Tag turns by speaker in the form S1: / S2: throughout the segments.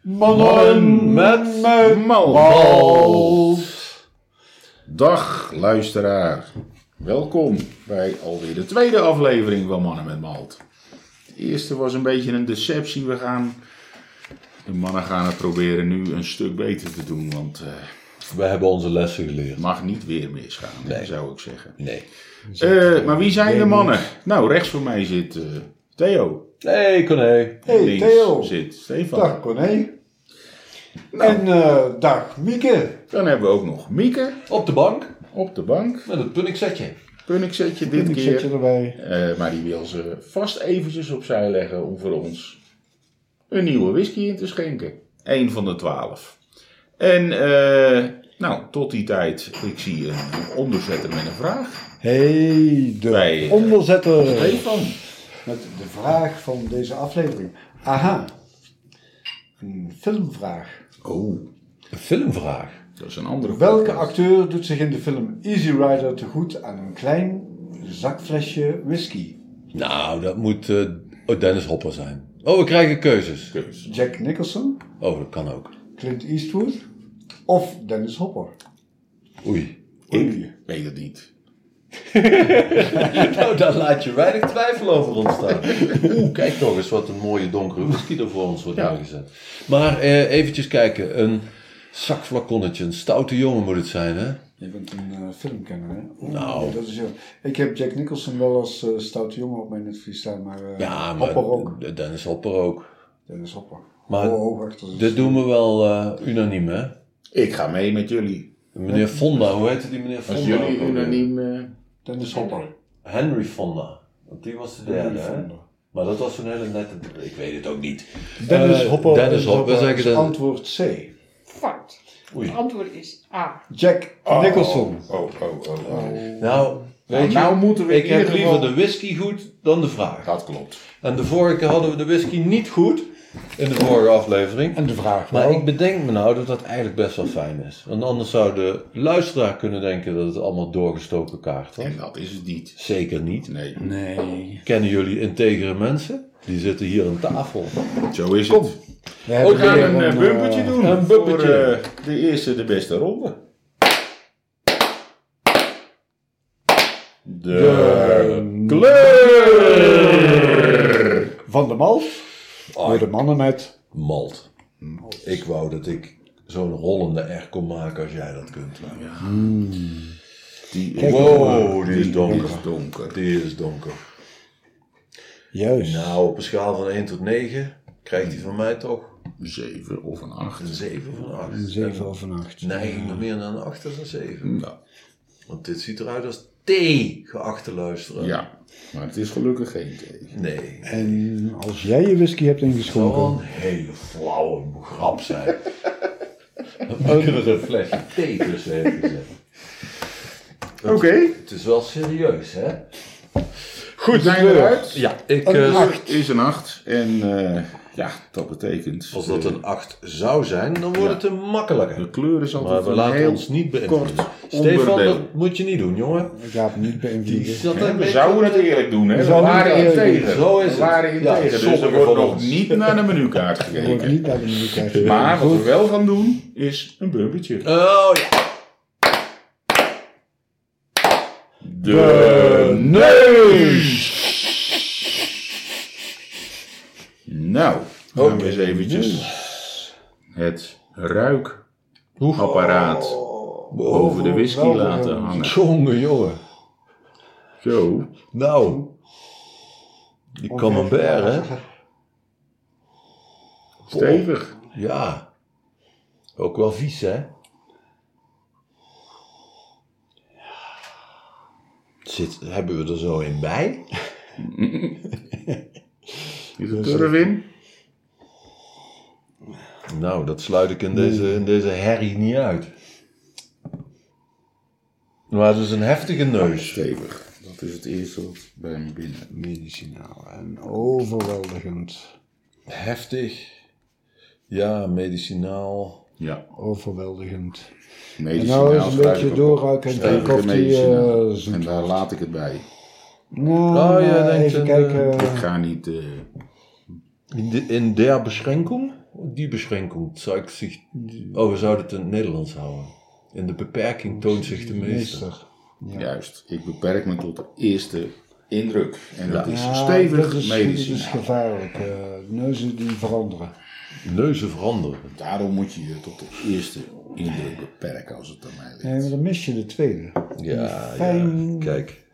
S1: Mannen
S2: met
S1: malt. Dag luisteraar. Welkom bij alweer de tweede aflevering van Mannen met Malt. De eerste was een beetje een deceptie. We gaan. De mannen gaan het proberen nu een stuk beter te doen, want eh,
S2: We hebben onze lessen
S1: het
S2: geleerd.
S1: mag niet weer misgaan,
S2: Nee.
S1: zou ik zeggen.
S2: Nee.
S1: Eh, maar wie zijn de mannen? Nou, rechts voor mij zit eh, Theo.
S2: Nee, Corné.
S3: Hey,
S1: Links
S3: Theo.
S1: zit Nou. Stefan.
S3: Dag Corné. En eh, dag Mieke.
S1: Dan hebben we ook nog Mieke
S2: Op de bank
S1: op de bank.
S2: met een punniksetje.
S1: Punnikzetje dit
S3: Ik
S1: keer.
S3: zet je erbij.
S1: Eh, maar die wil ze vast eventjes opzij leggen om voor ons een nieuwe whisky in te schenken. Eén van de twaalf. En eh, nou, tot die tijd, ik zie een onderzetter met een vraag.
S3: Hey, de
S1: Bij, eh,
S3: onderzetter.
S1: Stefan,
S3: Met de vraag van deze aflevering. Aha. Een filmvraag.
S1: oh,
S2: Een filmvraag.
S1: dat is een andere
S3: Welke
S1: podcast.
S3: acteur doet zich in de film Easy Rider te goed aan een klein zakflesje whisky?
S2: Nou, dat moet eh, oh, Dennis Hopper zijn. Oh, we krijgen keuzes.
S1: Keus.
S3: Jack Nicholson,
S2: Oh, dat kan ook.
S3: Clint Eastwood of Dennis Hopper?
S2: Oei.
S3: Ik.
S1: Weet het niet.
S2: Nou, daar laat je weinig twijfel over ontstaan. Oeh, kijk nog eens wat een mooie donkere whisky er voor ons wordt
S1: Ja.
S2: aangezet. Maar eh, eventjes kijken. Een zakflaconnetje. Een stoute jongen moet het zijn, hè?
S3: Je bent een eh, filmkenner, hè? Oeh,
S2: Nou.
S3: Dat is heel... Ik heb Jack Nicholson wel als eh, stoute jongen op mijn netvlies staan, maar, eh
S2: Ja, maar
S3: Hopper ook.
S2: Dennis Hopper ook.
S3: Dennis Hopper.
S2: Maar
S3: oh, wacht, dat is...
S2: Dit doen we wel eh, unaniem, hè?
S1: Ik ga mee met jullie.
S2: Meneer Fonda, hoe heette die meneer Fonda?
S1: Als jullie
S2: ook alweer?
S1: unaniem... eh,
S3: Dennis Hopper.
S2: Henry Fonda. Want die was de derde,
S3: Dennis
S2: hè?
S3: Hopper.
S2: Maar dat was zo'n hele nette... Ik weet het ook niet.
S3: Dennis
S2: Eh,
S3: Hopper.
S2: Dennis Hopper, zeg ik
S3: is
S2: dan.
S3: Antwoord C.
S4: Fout.
S2: Oei.
S4: Het antwoord is A.
S3: Jack Nicholson.
S1: Oh, oh, oh. oh.
S2: Nou,
S1: Nou,
S2: weet je...
S1: nou moeten we in
S2: ik heb
S1: ieder geval-
S2: liever de whisky goed dan de vraag.
S1: Dat klopt.
S2: En de vorige keer hadden we de whisky niet goed in de vorige aflevering.
S3: En de vraag
S2: Maar
S3: wel.
S2: ik bedenk me nou dat dat eigenlijk best wel fijn is. Want anders zou de luisteraar kunnen denken dat het allemaal doorgestoken kaart was.
S1: En dat is het niet.
S2: Zeker niet.
S1: Nee,
S3: Nee.
S2: Kennen jullie integere mensen? Die zitten hier aan tafel.
S1: zo is het.
S3: We hebben
S1: We gaan
S3: weer
S1: een eh,
S3: eh,
S1: bumpertje doen.
S2: een bumpertje.
S1: Voor, eh, de eerste, de beste ronde. De, kleur.
S3: Van de Mal. Door de mannen met...
S2: Ah. Malt. Ik wou dat ik zo'n rollende R kon maken als jij dat kunt. maar
S1: Die,
S2: Kijk, wow, die is donker.
S1: is donker.
S2: Die is donker.
S3: Juist.
S2: Nou, op een schaal van 1 tot 9 krijgt hij van mij toch
S1: Een zeven of een acht.
S2: een 7 van 8.
S3: Een 7 of een 8.
S2: Neiging nog meer naar een 8 dan een 7.
S1: Nou,
S2: Want dit ziet eruit als thee, geachte luisteraar.
S1: ja, maar het is gelukkig geen thee.
S2: Nee.
S3: En als jij je whisky hebt
S2: Het
S3: ingeschonken...
S2: zou wel een hele flauwe grap zijn. Dan moet je er een flesje thee tussen hebben gezet.
S1: Oké.
S2: Het is wel serieus, hè? Dus
S1: Goed, zijn we eruit?
S2: Ja, ik...
S3: Een
S2: eh,
S3: acht.
S1: Is een acht. En eh, ja, dat betekent...
S2: Als dat
S1: eh,
S2: een 8 zou zijn, dan wordt het een makkelijker.
S1: De kleur is altijd
S2: Maar we
S1: een
S2: laten
S1: heel
S2: ons niet
S1: kort
S2: beïnvloeden. Stefan,
S1: onderdeel.
S2: dat moet je niet doen, jongen.
S3: Ik ga het niet
S2: Oh. Die
S3: beïnvloeden.
S2: zat daar een
S1: we
S2: beetje-
S1: zouden het eerlijk doen, hè?
S3: We
S1: We
S3: zouden
S1: waren
S3: het
S1: in
S3: eerlijk
S1: tegen.
S2: doen. Zo is
S1: we
S2: het.
S1: waren in
S2: Ja,
S1: tegen. Dus er
S2: sommigen
S1: wordt
S2: van
S1: nog
S2: ons.
S1: niet naar de menukaart gekeken.
S3: Wordt niet naar de muziek kijken.
S1: Maar wat we wel gaan doen, is een bumpertje.
S2: Oh ja.
S1: De neus! Nou, gaan we eens eventjes het ruikapparaat over de whisky
S3: Overweldigend.
S1: laten hangen.
S2: Jongen, jongen.
S1: Zo.
S2: Nou. Die camembert, hè?
S1: Stevig.
S2: Ja. Ook wel vies, hè? Zit, hebben we er zo een bij?
S1: Is er turf in?
S2: Nou, dat sluit ik in deze, in deze herrie niet uit. Maar het is een heftige neus.
S1: Stevig. Dat is het eerste wat bij me binnen.
S3: Medicinaal en overweldigend.
S2: Heftig. Ja, medicinaal.
S1: Ja.
S3: Overweldigend. En
S1: Medicinaal
S3: nou eens een
S1: schrijf ik
S3: beetje
S1: op.
S3: doorruiken en
S1: Stevige
S3: kijken of die
S1: medicinaal.
S3: eh zoet
S1: En daar laat ik het bij.
S3: Nou,
S2: Oh, jij
S3: eh,
S2: denkt
S3: even
S2: een,
S3: kijken.
S1: Ik ga niet. eh,
S2: In, de, in der beschenking? die Beschränkung zeigt sich, oh, we zouden het in het Nederlands houden. In de beperking toont zich de meester.
S3: Ja.
S1: Juist, ik beperk me tot de eerste indruk. En dat is
S3: Ja,
S1: stevig
S3: dat is,
S1: medicijn.
S3: Dat is gevaarlijk. eh, neuzen die veranderen.
S2: Neuzen veranderen.
S1: Daarom moet je je tot de eerste indruk beperken als het aan mij ligt.
S3: Nee, maar dan mis je de tweede.
S2: Ja, ja.
S3: Fijn.
S2: Kijk,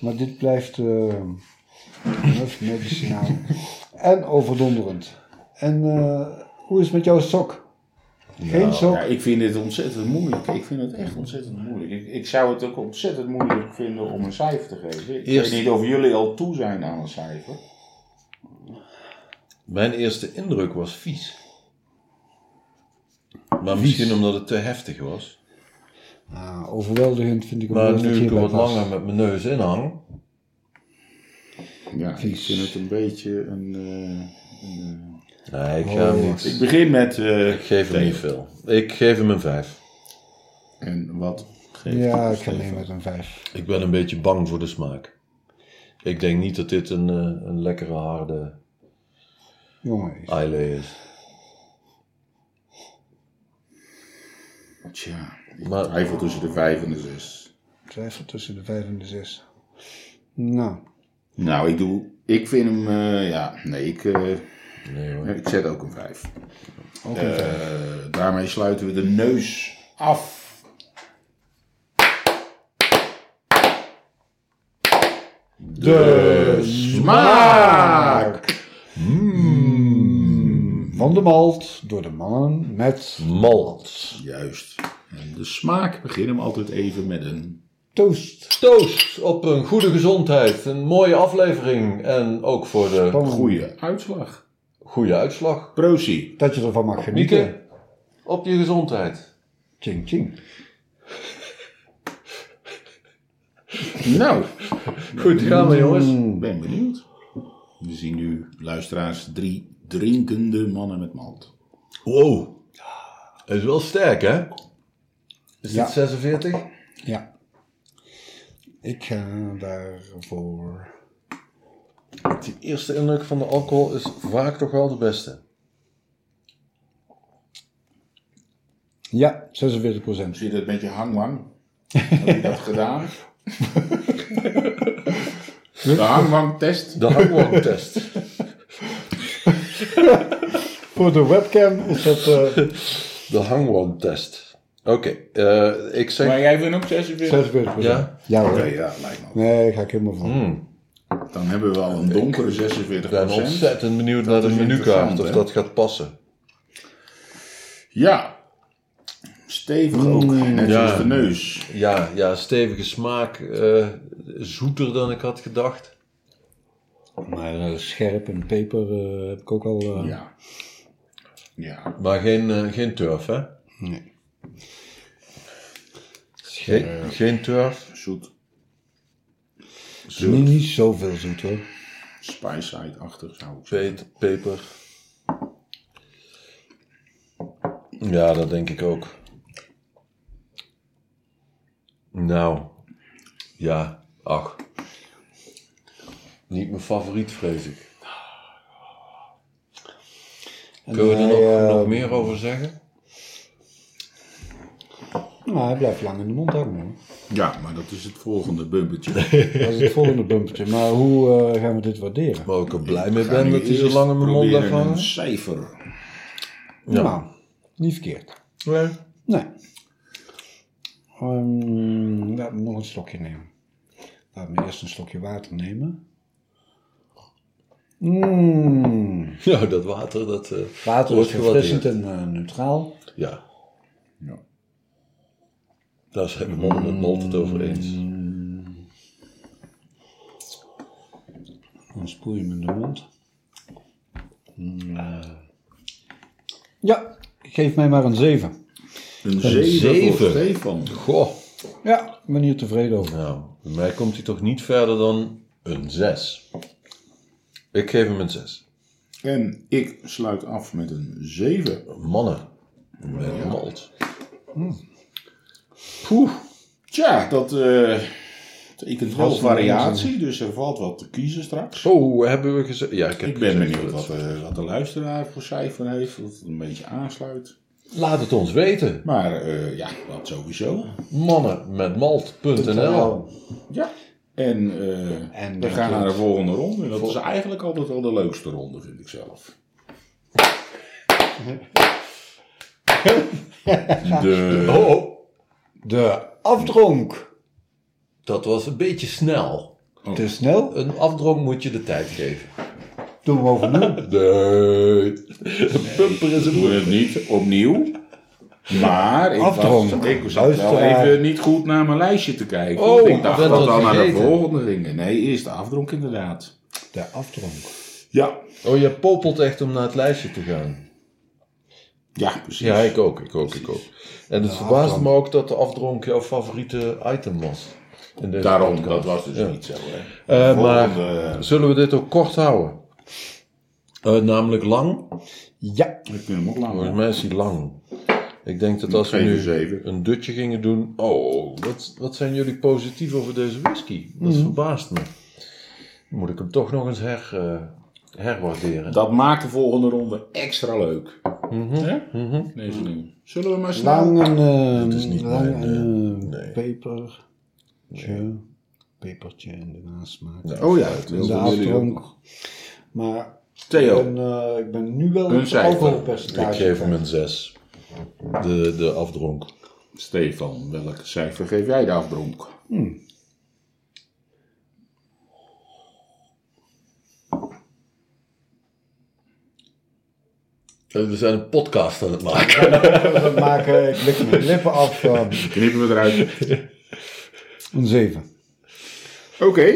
S3: Maar dit blijft eh, nuf, medicinaal en overdonderend. En eh, hoe is het met jouw sok? Geen sok?
S1: Ja, ik vind dit ontzettend moeilijk. Ik vind het echt ontzettend moeilijk. Ik, ik zou het ook ontzettend moeilijk vinden om een cijfer te geven. Ik
S2: Eerst-
S1: weet niet of jullie al toe zijn aan een cijfer.
S2: mijn eerste indruk was vies. Maar misschien omdat het te heftig was.
S3: Ah, overweldigend vind ik hem
S2: Maar
S3: wel dat
S2: nu ik er
S3: hierbij
S2: wat
S3: past.
S2: langer met mijn neus in hang,
S1: Ja, ik
S3: Vies.
S1: vind het een beetje een... eh, een,
S2: nee, ik ga hem
S3: Oh.
S1: eh, Ik
S2: niet.
S1: begin met... eh,
S2: Ik geef hem
S1: Theo.
S2: niet veel. Ik geef hem een 5.
S1: En wat geeft
S3: Ja, ik
S1: het?
S3: ga mee met een vijf.
S2: Ik ben een beetje bang voor de smaak. Ik denk niet dat dit een, eh, een lekkere harde
S3: Jongen, is-
S2: eilee is.
S1: Tja, ik
S2: Maar-
S1: twijfel tussen de vijf en de zes.
S3: ik twijfel tussen de vijf en de zes. Nou,
S1: Nou, ik doe... Ik vind hem... eh, ja, nee, ik, eh,
S2: Nee hoor.
S1: ik zet ook een vijf.
S3: ook een vijf.
S1: Eh, daarmee sluiten we de neus af. De smaak!
S3: Van de malt door de mannen met
S2: Malt.
S1: Juist. En de smaak beginnen we altijd even met een.
S3: toast.
S2: Toast op een goede gezondheid. Een mooie aflevering. En ook voor de
S3: Van
S1: Goede uitslag.
S2: goede uitslag.
S1: Prosi.
S3: Dat je ervan mag genieten.
S2: Mieke, op je gezondheid.
S3: Ching, ching.
S1: Nou,
S2: Goed gaan we jongens.
S1: ik ben benieuwd. We zien nu luisteraars drie drinkende mannen met malt.
S2: Wow. Het is wel sterk hè? Is
S3: Ja.
S2: dit 46?
S3: Ja. Ik ga daarvoor.
S2: De eerste indruk van de alcohol is vaak toch wel de beste.
S3: Ja, 46 procent.
S1: Zie je dat met je hangwang? Heb je dat gedaan? De hangwangtest.
S2: De hangwang-test.
S3: Voor de webcam is dat. eh
S2: De hangwang-test. Oké, eh, ik zeg...
S1: Maar jij vindt ook 46?
S3: 46 procent.
S2: Ja?
S3: hoor.
S1: Oké, ja, lijkt me ook.
S3: Nee, ga ik helemaal van.
S1: Dan hebben we al een donkere 46
S2: Ik ben ontzettend benieuwd naar de
S1: is
S2: menukaart
S1: interessant,
S2: of
S1: hè?
S2: dat gaat passen.
S1: Ja. Stevig ook, net
S2: Mm, ja.
S1: zoals de neus.
S2: Ja, ja stevige smaak. eh, zoeter dan ik had gedacht.
S3: Maar eh, scherp en peper eh, heb ik ook al. eh,
S1: Ja. Ja.
S2: Maar geen, eh, geen turf, hè?
S3: Nee.
S2: Geen,
S1: Eh,
S2: geen turf.
S1: Zoet.
S3: Niet,
S1: Zoet.
S3: niet zoveel zoet hoor.
S1: Spice-achtig zou ik zeggen.
S2: Peet, peper. Ja, dat denk ik ook. Nou, ja, ach. Niet mijn favoriet, vrees ik. Kunnen we er nog,
S3: hij, eh,
S2: nog meer over zeggen?
S3: Nou, hij blijft lang in de mond hangen hoor.
S1: Ja, maar dat is het volgende bumpertje.
S3: Dat is het volgende bumpertje. Maar hoe eh, gaan we dit waarderen?
S2: Waar ik er blij
S1: Ik
S2: mee
S1: ga
S2: ben
S1: nu
S2: dat hij zo
S1: eerst
S2: lang in mijn mond
S1: proberen
S2: blijft hangen.
S1: een cijfer.
S2: Ja.
S3: Nou, niet verkeerd.
S2: Nee.
S3: Nee. Ehm laat me nog een slokje nemen. Laat me eerst een slokje water nemen. Mm,
S2: Ja, dat water, dat... eh,
S3: water
S2: wordt
S3: is
S2: gewaardeerd.
S3: verfrissend en eh, neutraal.
S2: Ja,
S1: Ja.
S2: daar zijn we mannen met malt het over eens.
S3: Dan spoel je hem in de mond. Mm, eh. Ja, geef mij maar een 7.
S1: Een 7 voor
S2: zeven.
S1: Stefan.
S2: Goh.
S3: Ja, ik ben hier tevreden over.
S2: Nou, bij mij komt hij toch niet verder dan een 6. Ik geef hem een 6.
S1: En ik sluit af met een 7.
S2: Mannen met malt.
S1: Tja, dat, eh, Betekent
S3: Vast
S1: wel
S3: een
S1: variatie, dus er valt wat te kiezen straks.
S2: Oh, hebben we gezegd? Ja, ik, heb
S1: Ik ben
S2: gezegd
S1: benieuwd
S2: dat-
S1: wat, eh, wat de luisteraar voor cijfer heeft, wat het een beetje aansluit.
S2: Laat het ons weten.
S1: Maar eh, ja, dat sowieso.
S2: Mannenmetmalt.nl
S1: Ja. En, eh,
S3: En
S1: we
S3: dan
S1: gaan naar de
S3: komt-
S1: volgende ronde. En dat is eigenlijk altijd wel de leukste ronde, vind ik zelf. De...
S2: Oh, oh,
S3: De afdronk.
S2: dat was een beetje snel.
S3: Te snel.
S2: Een afdronk moet je de tijd geven.
S3: Doen we overnieuw.
S2: Nee.
S1: Eh.
S2: Pumper is een
S1: Doe het niet opnieuw. Maar ik was,
S3: Afdronk.
S1: ik zat wel
S3: Luisteraar.
S1: even niet goed naar mijn lijstje te kijken.
S2: Oh,
S1: want ik dacht
S2: bent
S1: dat we
S2: dat
S1: dan naar de
S2: vergeten.
S1: volgende gingen. Nee, eerst de afdronk inderdaad.
S3: De afdronk.
S1: Ja.
S2: Oh, je popelt echt om naar het lijstje te gaan.
S1: Ja, precies.
S2: Ja, ik ook, ik ook, ik ook. En het verbaast me ook dat de afdronk jouw favoriete item was. In deze
S1: Daarom,
S2: podcast.
S1: dat was dus
S2: Ja.
S1: niet zo. Hè.
S2: Eh, maar
S1: Volgende-
S2: zullen we dit ook kort houden? Eh, namelijk lang.
S3: Ja.
S1: Ik vind hem ook lang.
S2: Volgens
S1: hoor.
S2: mij is die lang. Ik denk dat als we
S1: Geef
S2: nu
S1: eens even.
S2: een dutje gingen doen. Oh, wat, wat zijn jullie positief over deze whisky? Dat verbaast me. Moet ik hem toch nog eens her, eh, herwaarderen?
S1: Dat maakt de volgende ronde extra leuk. Hè? Deze ding. Zullen we maar snel...
S3: Lang een, ehm,
S2: is niet
S3: lang
S2: mijn,
S3: een eh,
S2: nee.
S3: peper. Pepertje en daarna smaak.
S2: Nou,
S1: Oh ja, dat
S3: En de
S1: wilden jullie ook.
S3: afdronk. Maar ik,
S1: Theo,
S3: ben, eh, ik ben nu wel
S1: Een
S3: het
S1: cijfer.
S3: alcoholpercentage.
S2: ik geef hem een 6. De, de afdronk.
S1: Stefan, welk cijfer geef jij de afdronk?
S2: Eh, We zijn een podcast aan het maken.
S3: We maken, ik lik mijn lippen af. eh,
S1: Knippen we eruit.
S3: een 7.
S1: Oké.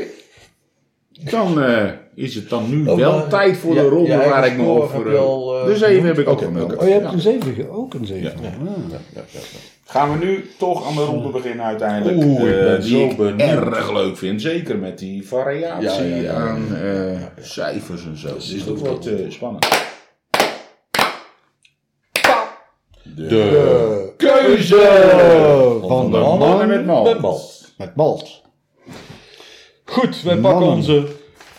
S1: Dan eh, is het dan nu
S2: Oh,
S1: wel
S2: maar-
S1: tijd voor
S2: ja,
S1: de ronde
S2: je eigen
S1: waar ik me
S2: score
S1: over...
S2: heb je al, eh,
S1: de zeven heb ik ook
S2: Oké,
S1: gemeld.
S2: oké.
S3: Oh, je hebt
S1: Ja.
S3: een 7, ge- ook een 7. Ah.
S1: Gaan we nu toch aan de ronde beginnen uiteindelijk.
S2: Oeh, ik
S1: eh,
S2: ben
S1: die
S2: zo
S1: ik
S2: benieuwd.
S1: erg leuk vind. Zeker met die variatie
S2: Ja, ja, ja, ja.
S1: aan eh, cijfers en zo. Dus dat wordt eh, spannend.
S2: De
S3: Keuze van de
S1: Mannen
S3: man
S1: met malt.
S2: met malt.
S3: Oh. met malt.
S2: Goed, wij
S3: Mannen.
S2: pakken onze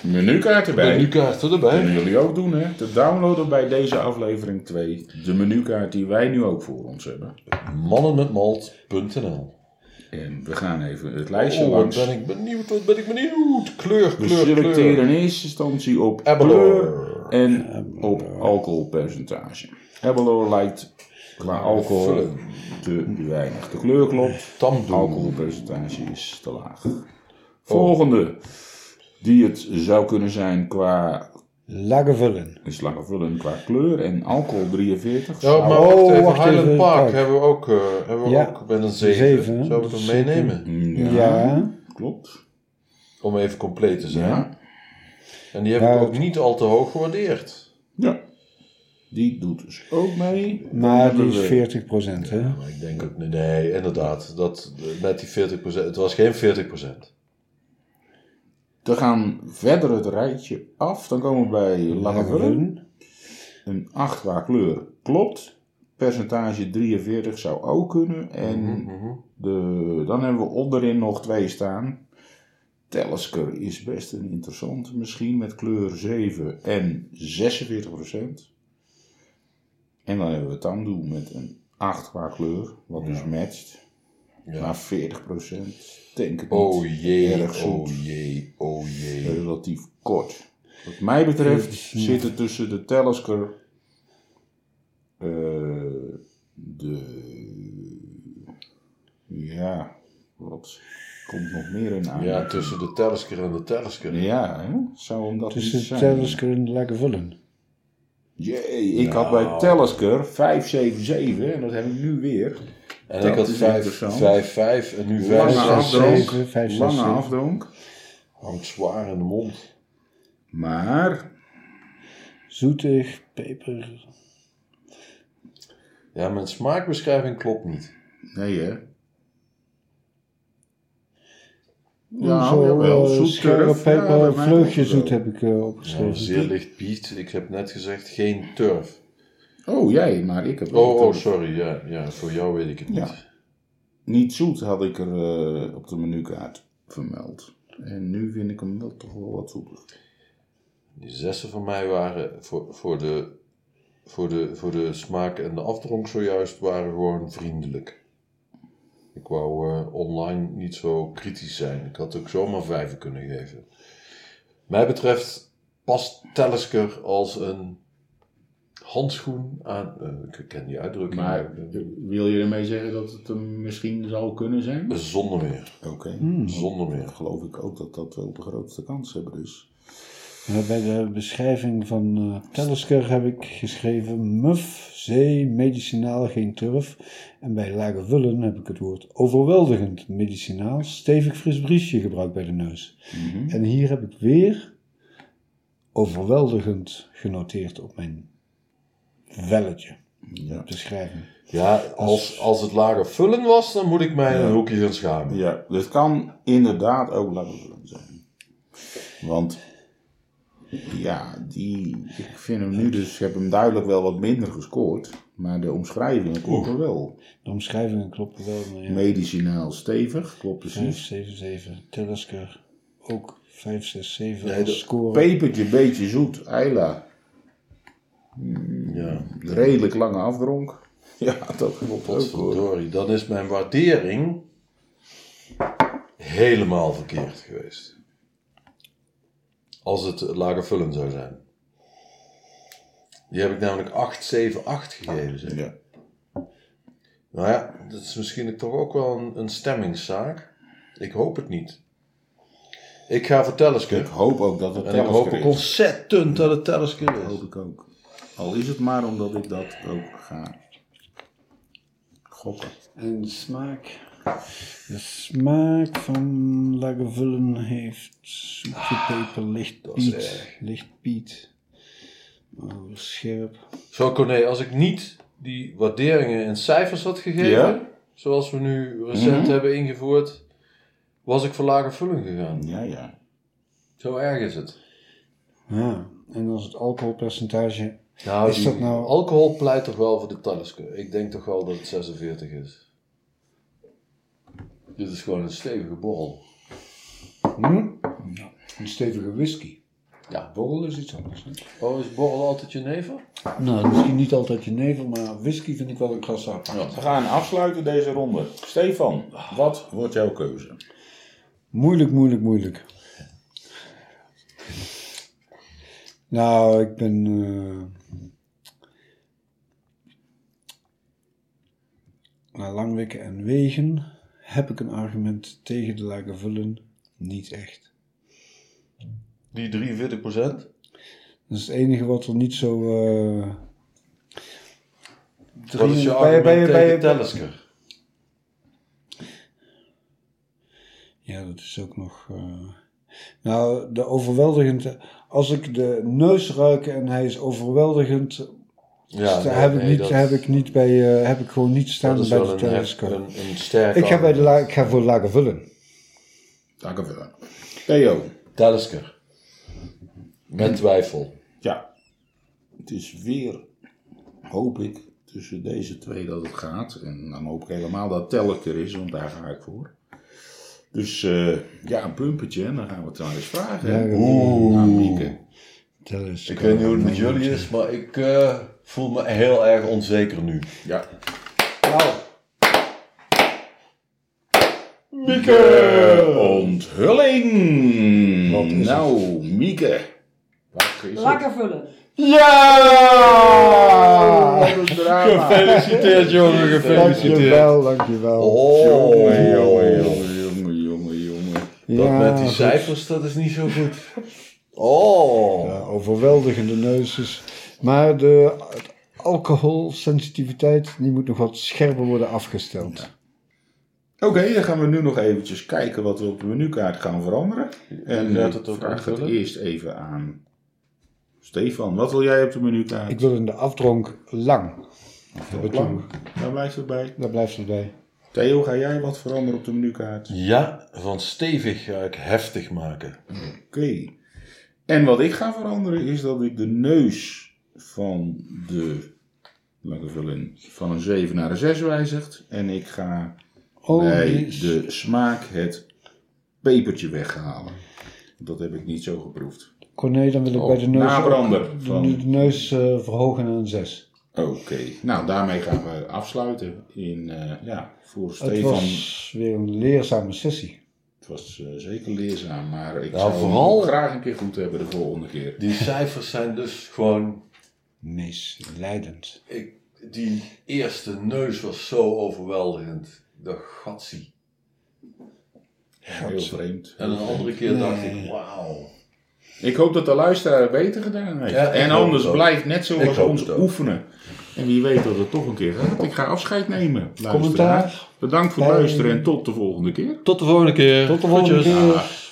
S1: Menukaart erbij.
S2: menukaarten
S1: Kunnen
S2: erbij.
S1: jullie ook doen, hè? Te downloaden bij deze aflevering 2. De menukaart die wij nu ook voor ons hebben.
S2: Mannenmetmalt.nl
S1: En we gaan even het lijstje
S2: Oh, wat
S1: langs.
S2: ben ik benieuwd, wat ben ik benieuwd. Kleur,
S1: We
S2: kleur,
S1: selecteren
S2: kleur.
S1: in eerste instantie op
S2: Abelor.
S1: kleur en op alcoholpercentage. Abelor lijkt qua alcohol te weinig. De kleur klopt,
S3: Oh.
S2: Tamdoen.
S1: alcoholpercentage is te laag.
S2: Oh.
S1: Volgende, die het zou kunnen zijn qua
S3: Lagervullen.
S1: is langer vullen qua kleur en alcohol 43.
S2: Ja, maar
S3: Oh,
S2: wacht even,
S3: wacht
S2: Highland
S3: even,
S2: Park
S3: Park.
S2: hebben we ook, eh, hebben we
S3: Ja.
S2: ook met een 7.
S3: Zeven, hè?
S2: Zouden we het
S3: Dat
S2: hem
S3: is
S2: meenemen?
S1: Ja,
S3: Ja.
S1: klopt.
S2: Om even compleet te zijn.
S1: Ja.
S2: En die heb
S3: Ja.
S2: ik ook niet al te hoog gewaardeerd.
S1: ja. Die doet dus ook mee. Dan
S3: Maar
S1: hebben
S3: die is
S1: we-
S3: 40 hè?
S2: Maar ik denk ook, nee, nee inderdaad. Dat, eh, met die 40%, het was geen 40%.
S1: Dan gaan we verder het rijtje af. Dan komen we bij Langevullen.
S3: Lagervullen.
S1: Een 8 qua kleur klopt. Percentage 43 zou ook kunnen. En de, dan hebben we onderin nog twee staan. Telesker is best een interessante misschien met kleur 7 en 46 En dan hebben we Tandoe met een 8 qua kleur, wat dus matcht.
S2: Ja.
S1: Maar 40 procent, denk ik
S2: Oh
S1: niet.
S2: jee,
S1: Erg zoet.
S2: oh jee, oh jee.
S1: relatief kort. Wat mij betreft zit het tussen de Talisker, eh, de, ja, wat komt nog meer in aan?
S2: Ja, tussen de Telsker en de Telsker.
S1: Ja, hè? zou hem dat niet
S3: Tussen
S1: zijn?
S3: Telsker en Lagervullen.
S1: Jee, ik had bij Talisker 577 en dat heb ik nu weer.
S2: En
S1: Dat
S2: ik had
S1: is
S2: 5,
S1: interessant.
S2: 5, 5 en nu
S1: Lange
S2: 5, 6.
S3: zes,
S1: afdronk,
S3: zeven, vijf, zes,
S1: lange
S3: zeven.
S1: afdronk,
S2: Hangt zwaar in de mond.
S1: maar
S3: Zoetig, peper.
S2: Ja, mijn smaakbeschrijving klopt niet.
S1: nee hè.
S3: Ja, zo,
S1: jawel,
S3: eh,
S1: zoet
S3: scherpe
S1: turf, ja,
S3: peper,
S1: bij mij
S3: vleugje
S1: ook wel.
S3: zoet heb ik eh,
S2: Nou,
S3: opgeschreven.
S2: zeer licht biet. Ik heb net gezegd geen turf.
S1: Oh, jij, maar ik heb eh,
S2: Oh,
S1: ook-
S2: oh sorry. Ja, ja, voor jou weet ik het niet.
S1: Ja. Niet zoet had ik er eh, op de menukaart. vermeld. En nu vind ik hem wel toch wel wat soepeler.
S2: Die zessen van mij waren voor, voor, de, voor, de, voor de smaak en de afdronk zojuist waren gewoon vriendelijk. Ik wou eh, online niet zo kritisch zijn. Ik had ook zomaar vijven kunnen geven. Mij betreft past Tellisker als een handschoen aan. eh, ik ken die uitdrukking.
S1: Maar
S2: niet.
S1: wil je ermee zeggen dat het hem misschien zou kunnen zijn?
S2: Zonder meer.
S1: Oké.
S3: Hmm.
S2: Zonder meer.
S1: Geloof ik ook dat dat wel de grootste kans hebben dus.
S3: Maar Eh, Bij de beschrijving van eh Tellisker heb ik geschreven muf, zee, medicinaal, geen turf. En bij lage wullen heb ik het woord overweldigend, medicinaal, stevig fris briesje gebruikt bij de neus. En hier heb ik weer overweldigend genoteerd op mijn velletje,
S1: Ja.
S3: op de schrijving.
S2: Ja, als, als het lager vullen was, dan moet ik mij een hoekje gaan schamen.
S1: ja, dit kan inderdaad ook langer zijn. Want ja, die, ik vind hem nu dus, ik heb hem duidelijk wel wat minder gescoord. Maar de omschrijvingen kloppen wel.
S3: De omschrijvingen kloppen wel, maar ja.
S1: Medicinaal stevig, klopt precies.
S3: 577, Tellisker ook 567
S2: Nee, de
S3: als score.
S1: Pepertje, beetje zoet, Eila.
S2: Ja.
S1: Redelijk lange afdronk. Ja, dat klopt ook hoor.
S2: Potverdorie, dan is mijn waardering helemaal verkeerd geweest. Als het lager vullen zou zijn. Die heb ik namelijk 8, 7, 8 gegeven. zeg.
S1: Ja.
S2: Nou ja, dat is misschien toch ook wel een, een stemmingszaak. Ik hoop het niet. Ik ga voor
S1: Ik
S2: Telescope.
S1: hoop ook dat het
S2: En ik
S1: Tellisker
S2: hoop ook
S1: is.
S2: ontzettend dat het Telescope
S1: Dat
S2: is.
S1: hoop ik ook. Al is het maar omdat ik dat ook ga gokken.
S3: En de smaak. De smaak van Lagavulin heeft zoetje peper, licht
S2: Ah, dat is
S3: piet.
S2: erg.
S3: Licht piet. Oh, scherp.
S2: Zo, Corné, als ik niet die waarderingen in cijfers had gegeven,
S1: Ja.
S2: zoals we nu recent
S3: Mhm.
S2: hebben ingevoerd, was ik voor lage vulling gegaan.
S1: Ja, ja.
S2: Zo erg is het.
S3: Ja, en als het alcoholpercentage.
S2: Nou,
S3: Is
S2: die
S3: dat nou-
S2: alcohol pleit toch wel voor de talisker. Ik denk toch wel dat het 46 is. Dit is gewoon een stevige borrel.
S3: Hm? Een stevige whisky.
S2: Ja.
S3: Borrel is iets anders. Hè?
S2: Oh, is borrel altijd jenever?
S3: Nou, misschien niet altijd jenever, maar whisky vind ik wel een klasse apart.
S1: We gaan afsluiten deze ronde. Stefan, wat wordt jouw keuze?
S3: Moeilijk, moeilijk, moeilijk. Nou, ik ben. eh na Langwikken en Wegen heb ik een argument tegen de lage vullen. Niet echt.
S2: Die 43 procent?
S3: Dat is het enige wat er niet zo. eh
S2: Wat is je
S3: bij-
S2: argument
S3: bij- bij-
S2: tegen
S3: bij-
S2: talisker?
S3: Ja, dat is ook nog. eh, Nou, de overweldigend. Als ik de neus ruik en hij is overweldigend,
S2: Ja,
S3: Dus
S2: nee,
S3: daar heb, ik
S2: nee,
S3: niet,
S2: dat-
S3: heb ik niet bij, eh, heb ik gewoon niet
S2: dat
S3: staan
S2: is
S3: bij
S2: wel
S3: de
S2: een, hef-
S3: telescoop.
S2: een, een sterk
S3: Ik ga, bij de,
S2: argument.
S3: la- ik ga voor lager vullen.
S1: Dank u wel. Theo.
S2: Tellisker. Met twijfel.
S1: Ja. Het is weer, hoop ik, tussen deze twee dat het gaat. En dan hoop ik helemaal dat Telk er is, want daar ga ik voor. Dus eh, ja, een pumpertje en dan gaan we het nou eens vragen. hè?
S3: Ja, ja.
S1: Aan Mieke.
S3: Telescoop.
S2: Ik weet niet hoe het met jullie is, maar ik eh, voel me heel erg onzeker nu.
S1: Ja.
S3: Nou.
S2: Nou, Mieke!
S1: Onthulling!
S2: Wat is
S1: Eh, nou, Mieke. Wat is het?
S4: Lekker vullen.
S3: Ah,
S1: Ja!
S2: Gefeliciteerd jongen, gefeliciteerd.
S3: Dankjewel, dankjewel.
S2: Oh,
S1: Jongen, jongen, jongen, jongen, jongen.
S2: Dat
S3: Ja,
S2: met die
S3: goed.
S2: cijfers, dat is niet zo goed. Oh.
S3: Ja, eh, overweldigende neus is. Maar de alcoholsensitiviteit die moet nog wat scherper worden afgesteld.
S1: Oké, dan gaan we nu nog eventjes kijken wat we op de menukaart gaan veranderen. En
S2: Gaat
S1: ik
S2: het ook
S1: vraag het
S2: invullen?
S1: eerst even aan Stefan. Wat wil jij op de menukaart?
S3: Ik wil in de afdronk lang.
S1: wil lang. Daar blijft het bij.
S3: Daar blijft het bij.
S1: Nou, Theo, ga jij wat veranderen op de menukaart?
S2: Ja, van stevig ga ik heftig maken.
S1: Oké. En wat ik ga veranderen is dat ik de neus van de laat ik het wel in, van een 7 naar een 6 wijzigt. En ik ga
S3: Oh,
S1: bij
S3: die is-
S1: de smaak het pepertje weghalen. Dat heb ik niet zo geproefd.
S3: Corné, dan wil ik
S2: Oh,
S3: bij de neus,
S1: nabrander
S3: ook-
S1: van-
S3: de, de neus eh, verhogen naar een 6.
S1: Oké, nou daarmee gaan we afsluiten. In, eh, ja, voor
S3: Het
S1: Stefan het
S3: was weer een leerzame sessie.
S1: was eh, zeker leerzaam, maar ik
S2: Nou,
S1: zou hem
S2: vooral-
S1: ook graag een keer goed hebben de volgende keer.
S2: Die cijfers zijn dus gewoon
S3: Misleidend.
S2: Ik, die eerste neus was zo overweldigend. De gatsie.
S1: Heel vreemd.
S2: En een andere keer dacht
S3: Nee.
S2: ik, wauw.
S1: Ik hoop dat de luisteraar het beter gedaan heeft.
S2: Ja, ik
S1: en
S2: hoop
S1: anders
S2: het ook.
S1: blijft net
S2: Ik
S1: zoals
S2: hoop
S1: ons
S2: het ook.
S1: oefenen. En wie weet dat het toch een keer gaat. Ik ga afscheid nemen. luisteraar.
S3: Commentaar?
S1: Bedankt voor het
S3: Bye.
S1: luisteren en tot de volgende keer.
S2: Tot de volgende keer.
S3: Tot de volgende keer.
S1: Dag.